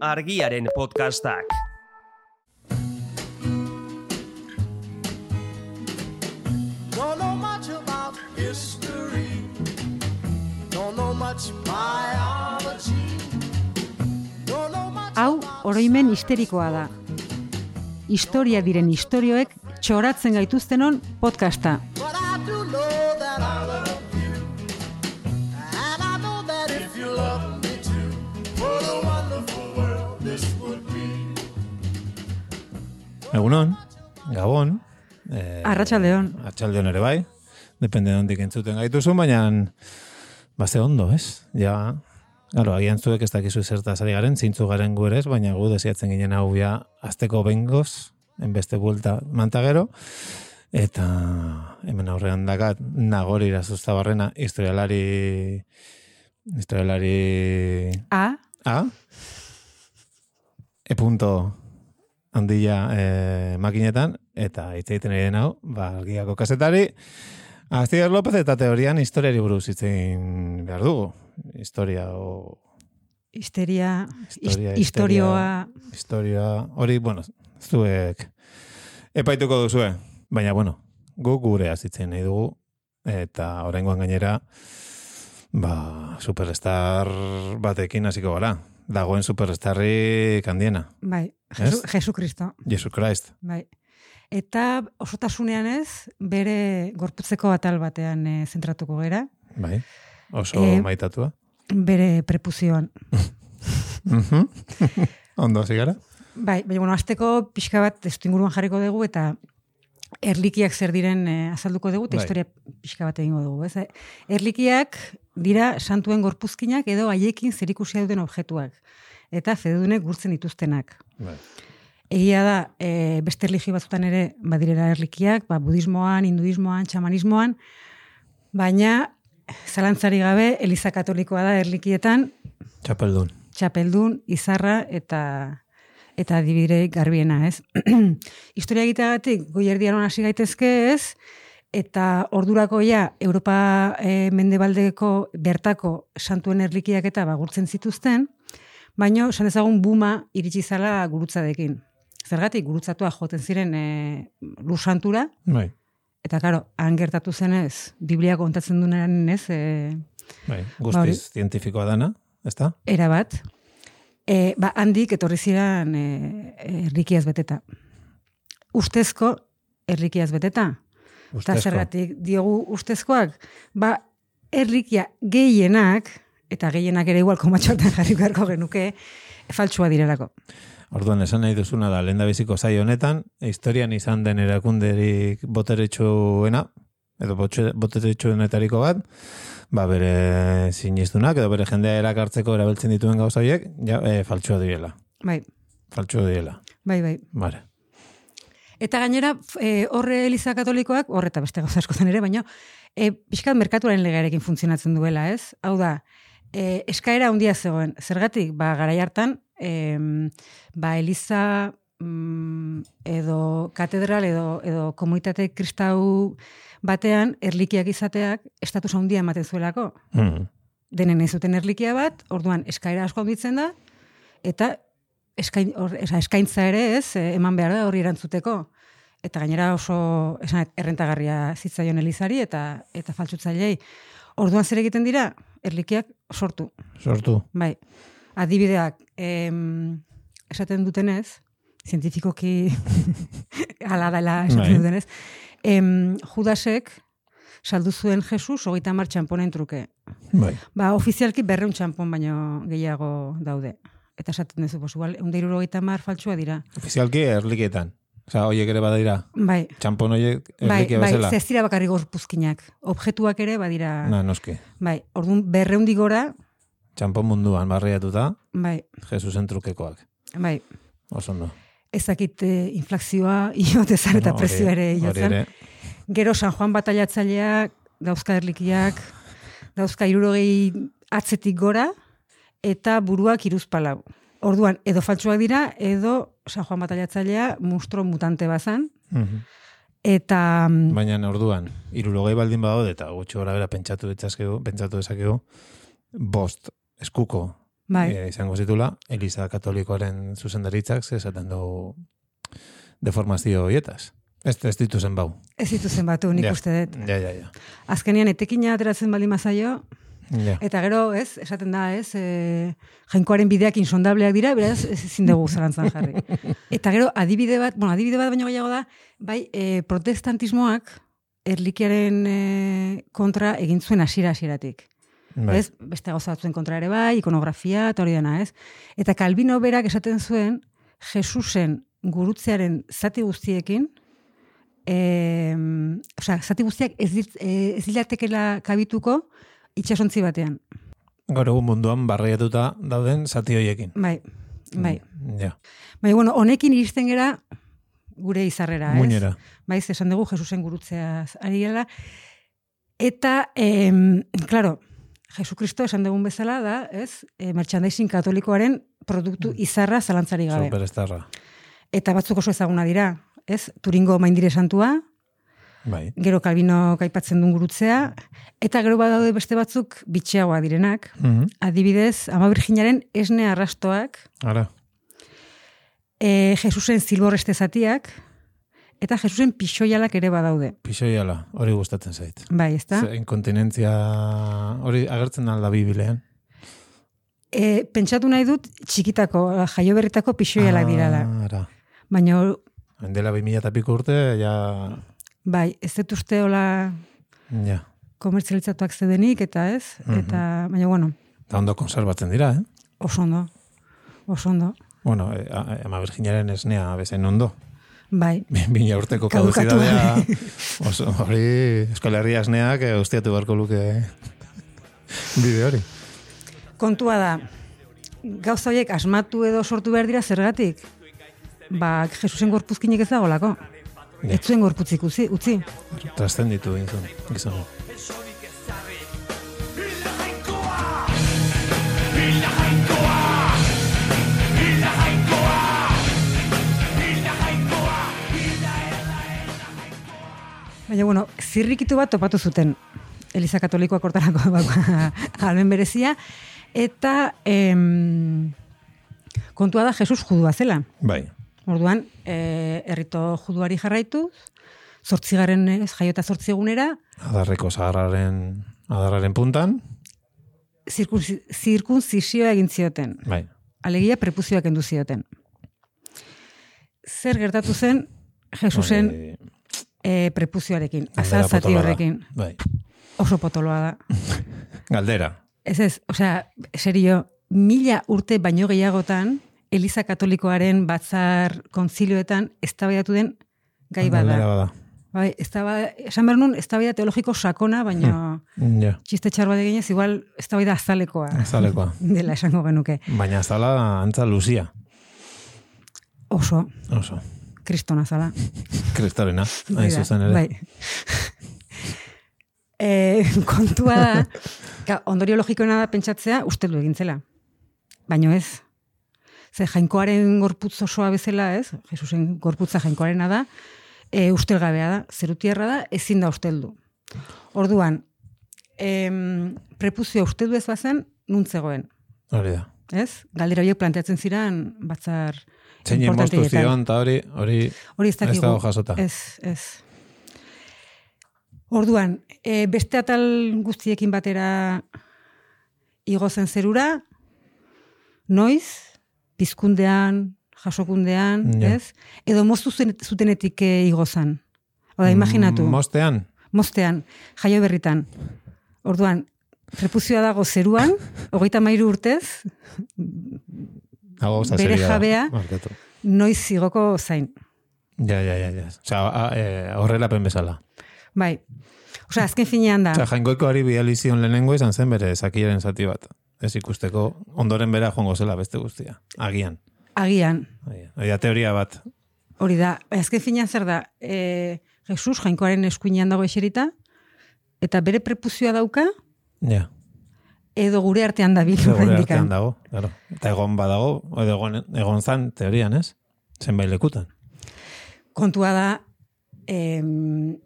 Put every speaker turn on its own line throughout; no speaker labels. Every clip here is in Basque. argiaren podcastak.
Don't know much about history. Don't know much biology. Don't know much
Hau
about
oroimen histerikoa da. Historia diren istorioek txoratzen gaituztenon podcasta.
But I do know that I love you. And I know that if you love me too, what a wonderful world this would be.
Egunon, Gabon, eh,
Arratsaldeon.
Arratxaldeon ere bai, depende nondik entzuten gaituzun, baina baze ondo, ez? Ja, galo, agian zuek ez dakizu zertaz ari garen, zintzu garen gu ere ez, baina gu desiatzen ginen hau ja azteko bengoz, enbeste buelta mantagero, eta hemen aurrean dakat nagori barrena historialari historialari
A,
A. E punto handia e, makinetan, eta hitz egiten ari den hau, ba, algiako kasetari, Aztigar López eta teorian historiari buruz hitz egin behar dugu. Historia o...
histeria,
Historia,
his- historioa,
Historia, hori, bueno, zuek epaituko duzue. Baina, bueno, gu gure azitzen nahi dugu, eta oraingoan gainera, ba, superstar batekin hasiko gara. Dagoen superstarrik handiena,
bai, Jesu, Jesucristo,
Jesus Christ.
bai. Eta osotasunean ez, bere gorputzeko atal batean eh, zentratuko gera,
Bai, oso
Eh,
maitatua.
bere prepuzioan.
Mhm. Ondo hasi gara?
Bai, baina bueno, azteko pixka bat testu inguruan jarriko dugu eta erlikiak zer diren eh, azalduko dugu, eta
Bai.
historia pixka bat egingo dugu. Ez? Erlikiak dira santuen gorpuzkinak edo haiekin zerikusia duten objektuak eta fededunek gurtzen dituztenak.
Bai.
Egia da, e, beste erlijio batzutan ere badirera erlikiak, ba, budismoan, hinduismoan, txamanismoan, baina zalantzari gabe eliza katolikoa da erlikietan
Txapeldun.
txapeldun, izarra eta eta adibide garbiena, ez? Historia egiteagatik goi erdiaron hasi gaitezke, ez? Eta ordurako ja Europa e, mendebaldeko bertako santuen erlikiak eta bagurtzen zituzten, baino esan dezagun buma iritsi zala gurutzadekin. Zergatik gurutzatua joten ziren e, lur santura
Bai,
eta claro, han gertatu zenez, Biblia kontatzen duenaren, ez? E,
bai.
Ba, hori-
Guztiz zientifikoa dana, ezta?
Era bat. E, ba, handik etorri ziren e, errikiaz beteta. Ustezko errikiaz beteta. Eta
Ustezko.
zergatik diogu ustezkoak. Ba, errikia gehienak, eta gehienak ere igual komatxotan jarri beharko genuke, faltsua direlako.
Orduan, esan nahi duzuna da, lehen biziko zai honetan, historian izan den erakunderik boteretsuena, edo botxe- boteretsuenetariko bat, ba bere sinistunak, edo bere jendea erakartzeko erabiltzen dituen gauza horiek, ja, e, faltsua direla.
Bai,
Faltsua direla.
bai, bai.
Bare.
Eta gainera, f- e, horre eliza katolikoak, horre eta beste gauza askotan ere, baino, e, pixkat merkatuaren legearekin funtzionatzen duela, ez? Hau da, e, eskaera handia zegoen. Zergatik, ba, garai hartan, e, ba, eliza mm, edo katedral edo, edo komunitate kristau batean erlikiak izateak estatus handia ematen zuelako
Mm.
denen ez zuten erlikia bat, orduan eskaira asko handitzen da, eta eskain, hor, esa, eskaintza ere ez, eh, eman behar da horri erantzuteko. Eta gainera oso esan, dut, errentagarria zitzaion elizari eta eta faltsutzailei. Orduan zer egiten dira? Erlikiak sortu,
Sortu.
bai. Adibideak, em, esaten dutenez, zientifikoki ala dela esaten
Bai.
dutenez, em, Judasek saldu zuen Jesus hogeita hamar txanponen truke.
Bai.
Ba, ofizialki berreun txampon baino gehiago daude. Eta esaten duzu, pues, igual, eunda irurogeita mar faltsua dira.
Ofizialki erliketan. Osa, hoiek ere badira.
Bai,
Txampon hoiek
bai,
erlikia
bai,
bezala.
ze ez dira bakarrik gorpuzkinak. Objetuak ere badira,
Na, noski.
bai, orduan berreundik gora,
Txampon munduan barriatuta,
bai,
Jesusen trukekoak.
bai,
Oso ondo.
ezakit eh, inflakzioa iotezan eta
Hori-
prezioa ere
hori
iotzen.
ere.
Gero San Juan batailatzaileak, dauzka erlikiak, dauzka irurogei atzetik gora, eta buruak iruzpalau. Orduan, edo faltsuak dira, edo San Juan batailatzailea monstro mutante bazan,
Mhm.
eta mm,
Baina orduan, irurogei baldin badaude eta gutxi gora bera pentsatu ditzazkegu, pentsatu dezakegu, bost eskuko
Bai.
eh, izango zitula, Eliza Katolikoaren zuzendaritzak ze esaten du deformazio horietaz. Ez, ez ditu zen bau.
Ez dituzen batu, nik
Ja.
uste dut.
Ja, ja, ja.
Azkenian etekina ateratzen baldin mazaio,
ja.
eta gero, ez, esaten da, ez, e, jainkoaren bideak insondableak dira, beraz, ez ezin dugu zalantzan jarri. Eta gero, adibide bat, bueno, adibide bat baino gehiago da, bai, e, protestantismoak erlikiaren e, kontra egin zuen hasiera hasieratik.
Bai.
Ez, beste gauza batzuen kontra ere bai, ikonografia eta hori dena, ez? Eta Kalbino berak esaten zuen, Jesusen gurutzearen zati guztiekin, em, osea, zati guztiak ez, dit, eh, ez dilatekela kabituko itxasontzi batean.
Gaur egun munduan barriatuta dauden zati hoiekin.
Bai,
Mm.
bai.
Ja.
Bai, bueno, honekin iristen gera gure izarrera, ez?
Muinera.
Bai, ze esan dugu Jesusen gurutzeaz ari gara. Eta, em, claro, Jesucristo esan dugun bezala da, ez, e, merchandising katolikoaren produktu izarra zalantzari gabe.
Superestarra.
Eta batzuk oso ezaguna dira, ez? Turingo maindire santua,
Bai.
gero Kalbino aipatzen duen gurutzea, eta gero badaude beste batzuk bitxeagoa direnak.
Mhm.
Adibidez, ama virginaren esne arrastoak,
Ara.
e, Jesusen zilborreste zatiak, eta Jesusen pixoialak ere badaude.
Pixoiala, hori gustatzen zait.
Bai, ezta?
Ze Inkontinentzia hori agertzen alda bibilean.
E, pentsatu nahi dut txikitako, jaio berritako pixoialak dirala.
Ah, Ara.
Baina,
Dela 2000 eta piko urte, ja...
bai, ez dut uste hola
Ja.
komertzialitzatuak zedenik, eta ez?
Mhm.
Eta, baina, bueno,
Eta ondo konserbatzen dira, eh?
oso ondo. Oso ondo.
Bueno, eh, a- a- ama virginaren esnea bezain ondo.
Bai,
Bi- Mila urteko
Kadukatu
kaduzidadea oso hori Euskal Herria esneak eh, ustiatu beharko luke eh? bide hori.
kontua da, gauza horiek asmatu edo sortu behar dira zergatik. Ba, Jesusen gorpuzkinek ez dagolako.
Ja.
Ez zuen gorputzik utzi, utzi.
Trastenditu gizon. gizon.
Baina, bueno, zirrikitu bat topatu zuten. Eliza Katolikoak hortarako bak- almen berezia. Eta em, kontua da Jesus judua zela.
Bai.
Orduan, eh, errito juduari jarraitu, zortzigarren ez, jaiota zortzi egunera,
Adarreko zaharraren adarraren puntan.
zirkunzi- zirkunzisioa egin zioten.
Bai.
Alegia prepuzioak endu zioten. Zer gertatu zen Jesusen
Hori-
eh, prepuzioarekin,
Bai. Galdera
azal zati
potoloa da.
horrekin.
Bai.
Oso potoloa da.
Galdera.
Ez ez, osea, serio, mila urte baino gehiagotan, Eliza Katolikoaren batzar konzilioetan eztabaidatu den gai bat
Galdera
da.
bada.
Bai, eztabaida, esan behar nun, eztabaida teologiko sakona, baina
Ja.
txiste txar bat eginez, igual eztabaida azalekoa
Azalekoa.
dela esango genuke.
Baina azala antza luzia.
Oso,
Oso. kristalena,
kriston azala.
Kristalena. Hain zuzen ere.
Bai. e, kontua da, ka, ondorio logikoena da pentsatzea, uste du egin zela. Baino ez. Ze jainkoaren gorputz osoa bezala, ez? Jesusen gorputza jainkoarena da, e, ustelgabea da, zerutierra da, ezin da usteldu. Orduan, em, prepuzioa usteldu ez bazen, nuntzegoen.
Hori da.
Ez? Galdera horiek planteatzen ziren batzar
Zein emoztu
importanteetan.
zion, eta hori, hori
Hori ez dakigu.
Ez dago jasota.
Ez, ez. Orduan, e, beste atal guztiekin batera igozen zerura, noiz, pizkundean, jasokundean,
Ja.
ez? Edo moztu zen- zutenetik e, igozan.
Mm,
Oda, Ba, imaginatu,
Mostean.
moztean, jaio berritan. Orduan, prepuzioa dago zeruan, hogeita mairu urtez,
Hau gauza
Bere
serioa da.
jabea.
Barkatu.
noiz igoko zain.
Ja, ja, ja. ja. Osea, a- eh, horrelapen bezala.
Bai. Osea, azken finean da.
Osea, jainkoikoari bidali zion lehenengo izan zen bere zakiaren zati bat. Ez ikusteko ondoren bera joango zela beste guztia. Agian.
Agian,
Agian. Hori da teoria bat.
Hori da, azken finean zer da, e, Jesus jainkoaren eskuinean dago eserita, eta bere prepuzioa dauka,
Ja.
edo gure artean da bilu
Gure artean dago. Claro. Eta egon badago, edo egon, egon zan teorian, ez? Zenbait lekutan.
Kontua da, em,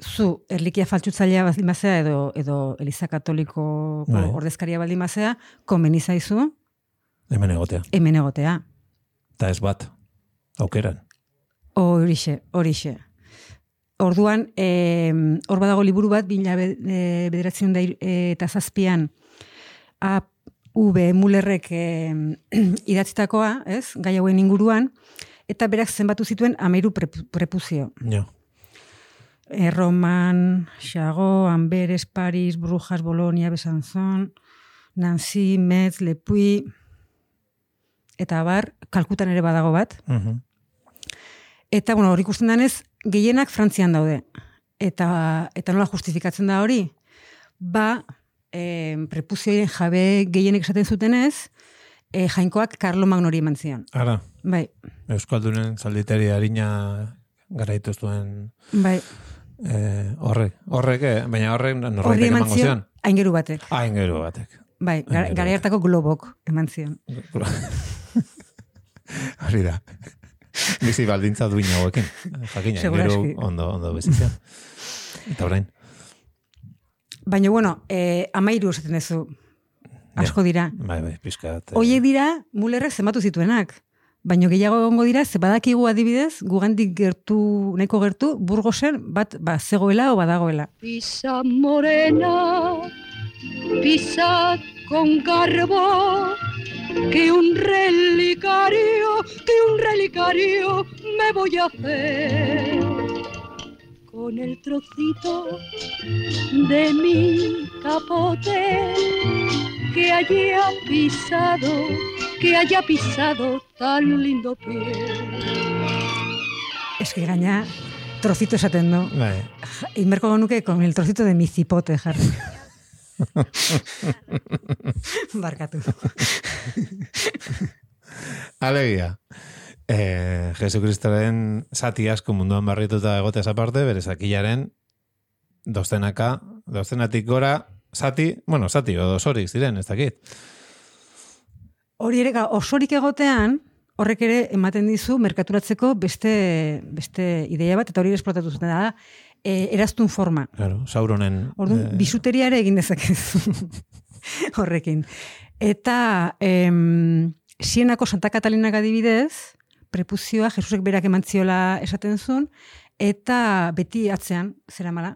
zu erlikia faltsutzailea baldin bazea, edo, edo Eliza Katoliko
Bai.
ordezkaria baldin bazea, komeni zaizu,
hemen egotea.
hemen egotea.
Eta ez bat, aukeran.
Horixe, horixe. Orduan, em, hor badago liburu bat, bila bederatzen da hiru- eh, eta zazpian, AV Mullerrek em, idatzitakoa, ez, gai hauen inguruan, eta berak zenbatu zituen amairu prepuzio.
Jo.
Erroman, Xago, Amberes, Paris, Brujas, Bolonia, Besanzon, Nancy, Metz, Lepui, eta bar, kalkutan ere badago bat,
Mhm.
Eta, bueno, hor ikusten danez, gehienak Frantzian daude. Eta, eta nola justifikatzen da hori? Ba, eh, prepuzioien jabe gehienek esaten zutenez, eh, jainkoak Carlo Magnori eman zion.
Ara,
Bai,
Euskaldunen zalditeri harina garaituz duen
bai.
eh, horrek. Horrek, eh, baina horrek
Horri
norbaitek
eman
emango
zion,
zion.
aingeru batek.
Ah, ingero batek.
Bai, gara,
aingeru
gara
batek.
hartako globok eman zion.
Hori da. Bizi baldintza duin hauekin. Jakina, ingero
Seguraski.
ondo, ondo bizitza. Eta orain.
Baina, bueno, eh, amairu esaten duzu. Asko dira.
Bai, bai, pixkat. eh,
Hoiek dira, mulerrek zenbatu zituenak. Baino gehiago egongo dira, ze badakigu adibidez, gugandik gertu, nahiko gertu, burgosen bat ba, zegoela o badagoela.
Pisa morena, pisa con garbo, que un relicario, que un relicario me voy a hacer. Con el trocito de mi capote que haya pisado, que haya pisado tan lindo pie.
Eske gaina, trocito esaten du.
Bai,
Ja, Inberko nuke, con el trocito de mi zipote jarri. Barkatu.
Alegia. E, Jesukristaren zati asko munduan barrituta egoteaz aparte, bere zakilaren dozenaka, dozenatik gora zati, bueno, zati, edo sorik ziren, ez dakit.
Hori ere, ga- osorik egotean, horrek ere ematen dizu merkaturatzeko beste, beste ideia bat, eta hori ere esplotatu zuten da, e, eraztun forma.
Claro, Sauronen...
Orduan,
eh,
bisuteria ere egin dezakezu horrekin. Eta em, Sienako Santa Katalinak adibidez, prepuzioa Jesusek berak eman ziola esaten zuen, eta beti atzean, zera mala,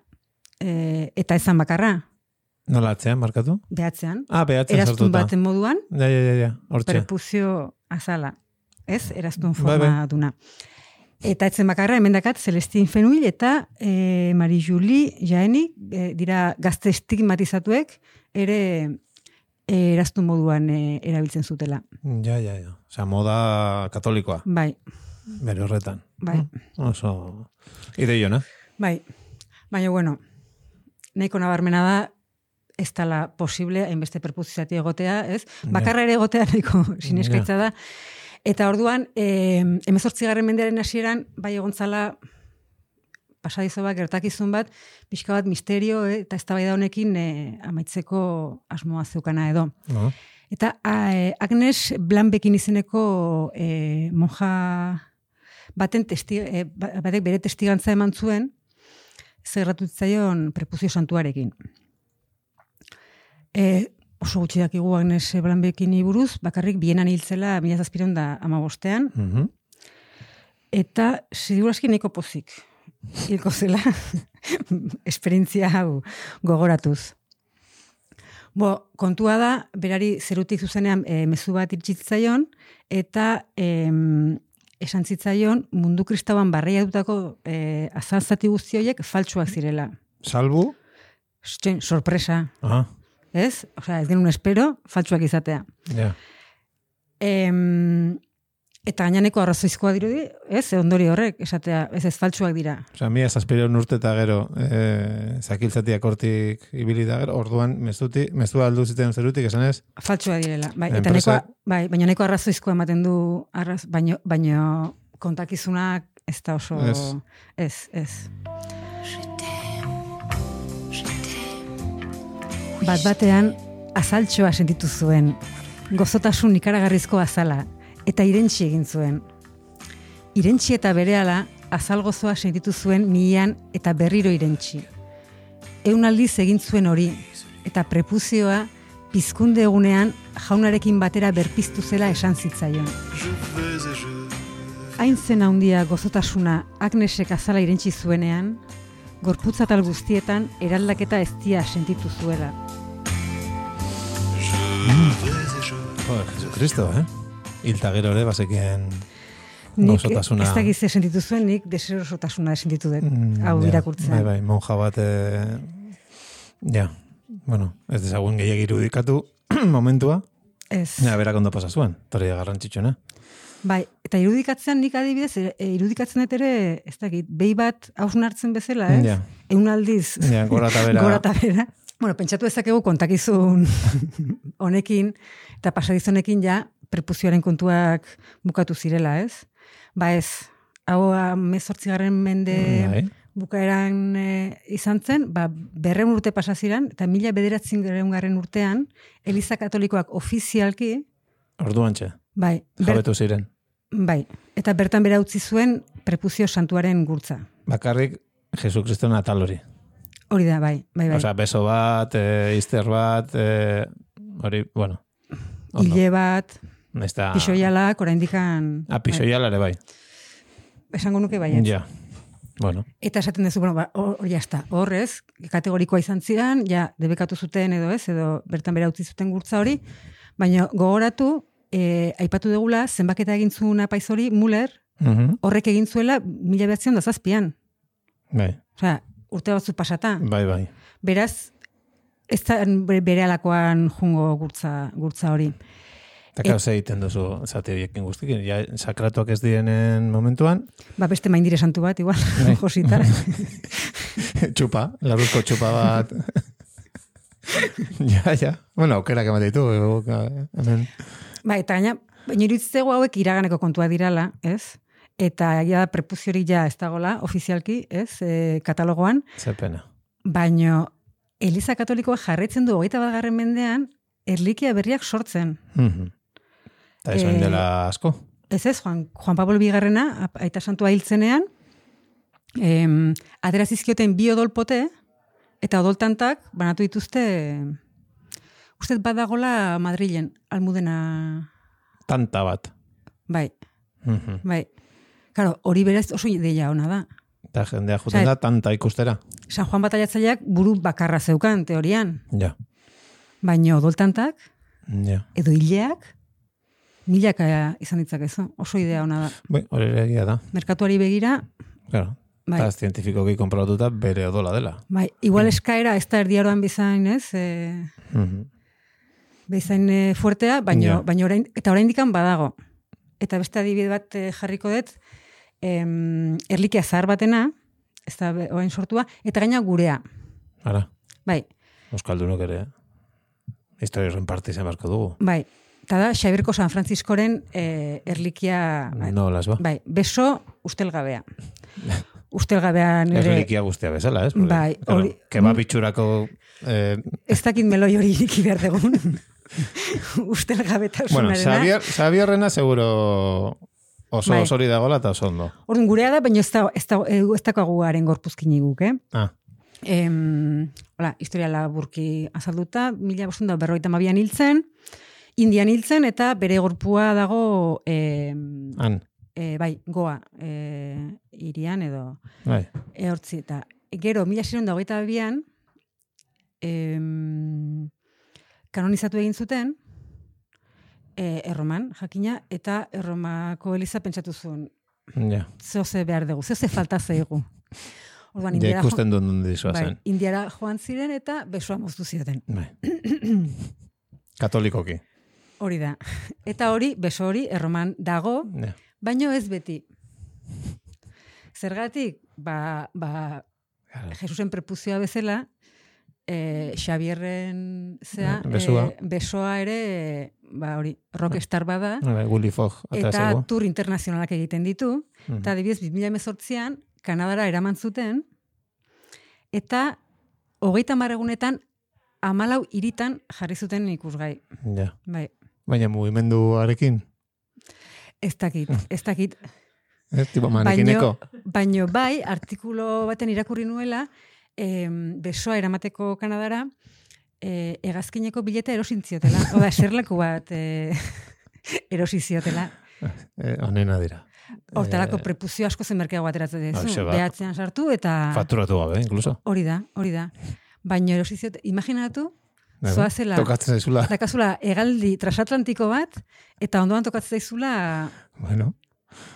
eta ezan bakarra,
Nola atzean, markatu?
behatzean,
Ah, behatzen
eraztun
sartuta.
baten moduan,
Ja, ja, ja, ja. Hortxe.
prepuzio azala, ez? Eraztun
Bai,
forma
bai.
duna. Eta etzen bakarra, hemen dakat, Celestin Fenuil eta e, Marie-Julie Jaeni, e, dira gazte estigmatizatuek, ere e, eraztun moduan e, erabiltzen zutela.
Ja, ja, ja. Osea, moda katolikoa,
Bai,
bere horretan. Mm.
bai,
Oso... Ideiona.
bai. Baina, bueno, nahiko nabarmena da, ez dala posible, hainbeste perpuzizati egotea, ez? Bakarra ere egotea nahiko sineskaitza da. Eta orduan, eh, emezortzigarren mendearen hasieran, bai egontzala pasadizo bat, gertakizun bat, pixka bat misterio eh, eta eztabaida honekin eh, amaitzeko asmoa zeukana edo.
No?
Eta a, eh, Agnes Blanbekin izeneko eh, monja baten testi, eh, ba- batek bere testigantza eman zuen, zerratu zitzaion prepuzio santuarekin. E, oso gutxi dakigu Agnes Blanbekin buruz, bakarrik bienan hiltzela mila zazpiron da amabostean,
Mhm.
Eta segurazki nahiko pozik. Hilko zela esperientzia hau gogoratuz. Bo, kontua da, berari zerutik zuzenean e, mezu bat irtsitzaion, eta em, esan zitzaion mundu kristauan barreia dutako e, azalzati guzti horiek faltsuak zirela.
Salbu?
Txin, sorpresa,
Ah,
ez? Osea, ez genuen espero, faltsuak izatea.
ja.
Em, eta gainaneko arrazoizkoa dirudi, ez? Ondori horrek, esatea, ez ez faltsuak dira.
Osea, mila zazpireun urte eta gero, e, zakiltzatiak hortik ibili da gero, orduan mezuti, mezua aldu ziten zerutik, esan ez?
Faltsua direla, bai, eta
Enpresa-
nahikoa, bai, baina nahiko arrazoizkoa ematen du, arraz, baino, baino kontakizunak ez da oso,
Ez.
ez, ez. Bat batean, azaltxoa sentitu zuen, gozotasun ikaragarrizko azala, eta irentsi egin zuen. Irentsi eta berehala, azal gozoa sentitu zuen mihian eta berriro irentsi. Eun aldiz egin zuen hori, eta prepuzioa pizkunde egunean jaunarekin batera berpiztu zela esan zitzaion. Hain zen handia gozotasuna Agnesek azala irentsi zuenean, gorputzatal guztietan eraldaketa eztia sentitu zuela.
Joder, Jesucristo, eh? Hilta gero ere, bazekien
Nik
Gozotasuna.
ez dakiz ze sentitu zuen, nik deserosotasuna sentitu dut,
Mm,
hau
ja,
irakurtzean.
Bai, bai, monja bat... eh, ja, bueno, ez dezagun gehiagir irudikatu momentua.
Ez.
Ja, berak ondo pasa zuen, torri da garrantzitsuna.
Bai, eta irudikatzean nik adibidez, e, e, irudikatzen dut ere, ez dakit, behi bat hausnartzen bezala, ez?
Ja.
Eun aldiz.
Ja, gora eta behera.
Gora eta behera. Bueno, pentsatu ezakegu kontakizun honekin, eta pasadizonekin ja, prepuzioaren kontuak bukatu zirela, ez? Ba ez, hau mezortzigarren mende
Bai.
bukaeran e, izan zen, ba, berreun urte pasa ziren, eta mila bederatzen garren urtean, Eliza Katolikoak ofizialki,
Orduan txe,
bai, ber-
jabetu ziren.
Bai, eta bertan bera utzi zuen prepuzio santuaren gurtza.
Bakarrik Jesucristo natal hori.
Hori da, bai, bai, bai.
Osea, beso bat, eh, izter bat, eh, hori, bueno. Ondo.
Ile bat,
Nahiz eta-
pixoialak, oraindik an-
Ah, pixoiala ere bai.
bai, esango nuke baiet.
Ja. Bueno,
Eta esaten duzu, bueno, ba, hor, hor jazta, horrez, kategorikoa izan ziren, ja, debekatu zuten edo ez, edo bertan bera utzi zuten gurtza hori, baina gogoratu, eh, aipatu degula, zenbaketa egin zuen apaiz hori, Muller,
Mhm,
horrek egin zuela mila behatzen da zazpian.
bai,
Osea, urte batzu pasata.
bai, bai.
Beraz, ez da bere alakoan jungo gurtza, gurtza hori.
Eta kauz egiten duzu zati horiekin guztikin. Ja, sakratuak ez direnen momentuan,
Ba, beste maindire santu bat, igual, josita.
txupa, laruzko txupa bat. ja, ja. Bueno, aukerak ematen ditu. guk, eh, Hemen.
ba, eta gaina, baina iruditzego hauek iraganeko kontua dirala, ez? Eta ja prepuziorik ja ez dagola, ofizialki, ez, e, katalogoan,
Zer pena.
baino Eliza Katolikoa jarraitzen du hogeita batgarren mendean, erlikia berriak sortzen.
Mhm. Eta ez
Eh,
oin dela asko.
Ez ez, Juan, Juan Pablo Bigarrena, ap- aita santua hiltzenean, em, atera zizkioten bi odolpote, eta odoltantak banatu dituzte, uste dut badagola Madrilen, almudena,
Tanta bat.
bai,
Mhm.
bai. Claro, hori beraz oso ideia ona da.
Eta jendea juten
Zer-
da, tanta ikustera.
San Juan Bataiatzaileak buru bakarra zeukan, teorian.
Ja,
Baina odoltantak,
ja.
edo hileak, milaka izan ditzakezu. Oso idea ona da.
Bai, hori ere egia da.
Merkatuari begira,
Claro.
Bai.
Eta zientifikoki konprobatuta bere odola dela.
bai, igual eskaera ez da erdiaroan bezain, ez? E,
Mhm.
bezain eh, fuertea, baino,
Ja.
baino orain, eta orain dikan badago. Eta beste adibide bat eh, jarriko dut, em, erlikia zahar batena, ez da be- orain sortua, eta gaina gurea.
Ara,
Bai,
Euskaldunok ere. Historia horren parte izan beharko dugu.
bai. Eta da, Xabirko San Franciscoren eh, erlikia,
No, las ba.
bai, beso ustelgabea. Ustelgabean
Ez
ere,
relikia guztia bezala, ez? Porque,
Bai,
claro,
hori-
Kebab itxurako... Eh,
ez dakit meloi hori iriki behar dugun. Ustelgabetasunarena.
bueno, Xavier, Xavierrena seguro oso
Bai.
bai. osori dagoela eta oso ondo.
Orduan gurea da, baina ez da, ez da, ez daukagu haren gorpuzkin iguk, eh?
Ah,
em, hola, historia laburki azalduta, mila bostun da berroita mabian hiltzen, Indian hiltzen, eta bere gorpua dago, em,
han,
e, bai, goa, e, irian edo
bai.
eortzi, eta gero, mila ziren da hogeita bian, em, kanonizatu egin zuten, e, erroman, jakina, eta erromako eliza pentsatu zuen,
Ja,
zeo ze behar dugu, zeo ze falta zaigu. Orduan,
ja
Indiara Ba, jo-
ikusten duen dundi zen.
Bai, indiara joan ziren eta besoa moztu zioten.
Bai. Katolikoki.
Hori da. Eta hori, beso hori, erroman dago,
Ja.
baino ez beti. Zergatik, ba, ba,
Claro.
Jesusen prepuzioa bezala, eh, Xabierren zea,
Eh, besoa.
eh, besoa ere, eh, ba hori, rockstar bada,
Bai, Willy Fogg,
eta
atrasego.
tur internazionalak egiten ditu,
Mhm.
Eta adibidez, 2018an, Kanadara eraman zuten, eta hogeita marregunetan amalau iritan jarri zuten ikusgai.
Ja.
Bai,
Baina mugimenduarekin.
ez dakit, ez dakit.
Ez, tipo, manekineko.
baino bai, artikulu baten irakurri nuela, em, besoa eramateko Kanadara, e, egazkineko bileta erosintzioetela. Oda, eserleku bat e, erosiziotela.
Eh, onena dira.
Hortarako prepuzio asko zen merkeago ateratzen
Hauxe
duzu.
ba.
Behatzean sartu eta...
Faturatu gabe, incluso.
Hori da, hori da. Baina erosiziot, imaginatu,
Bai,
zoazela,
Tokatzen zaizula.
dakazula hegaldi transatlantiko bat, eta ondoan tokatzen zaizula
Bueno,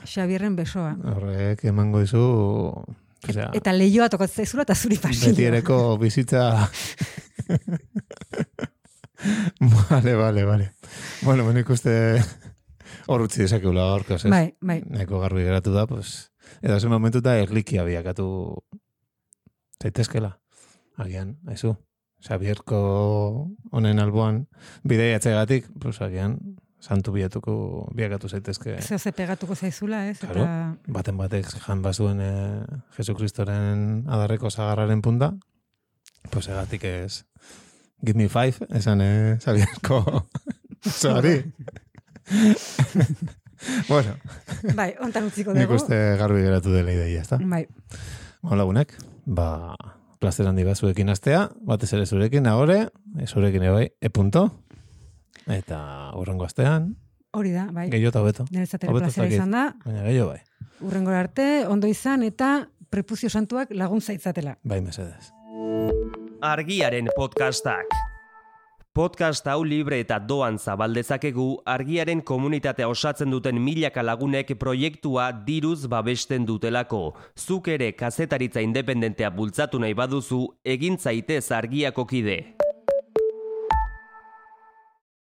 Xabierren besoa.
horrek emango dizu... Osea,
Eta leioa tokatzen zaizula eta zuri pasilloa.
Ah. Beti ereko bizitza... vale, vale, vale. Bueno, bueno, ikuste hor utzi dezakegula hor, ez?
Bai, bai.
Neko garbi geratu da, pues... Eta zen momentu da erlikia biakatu zaitezkela. Agian, haizu. Xabierko honen alboan bidea atzegatik, pues agian santu bilatuko biakatu zaitezke.
Zeo ze pegatuko zaizula, ez?
Claro.
Eta
Baten batek jan bazuen e, Jesukristoren adarreko zagarraren punta, pues egatik ez give me five, esan eh, Xabierko zari. bueno,
Bai, ontan utziko
nik
dugu.
uste garbi geratu dela ideia, ezta?
Bai,
Bueno, lagunak, ba, placer handi bat zuekin astea, batez ere zurekin, ahore, eh, zurekin ebai, epunto, eta urrengo astean,
hori da, bai.
gehiago eta hobeto.
Niretzat ere
Hobeto
plazera
zakit.
izan da,
Baina gehiago bai,
urrengora arte, ondo izan eta prepuzio santuak lagun zaitzatela.
bai mesedez.
Argiaren podcastak. Podcast hau libre eta doan zabaldezakegu argiaren komunitatea osatzen duten milaka lagunek proiektua diruz babesten dutelako. Zuk ere kazetaritza independentea bultzatu nahi baduzu, egin zaitez argiako kide.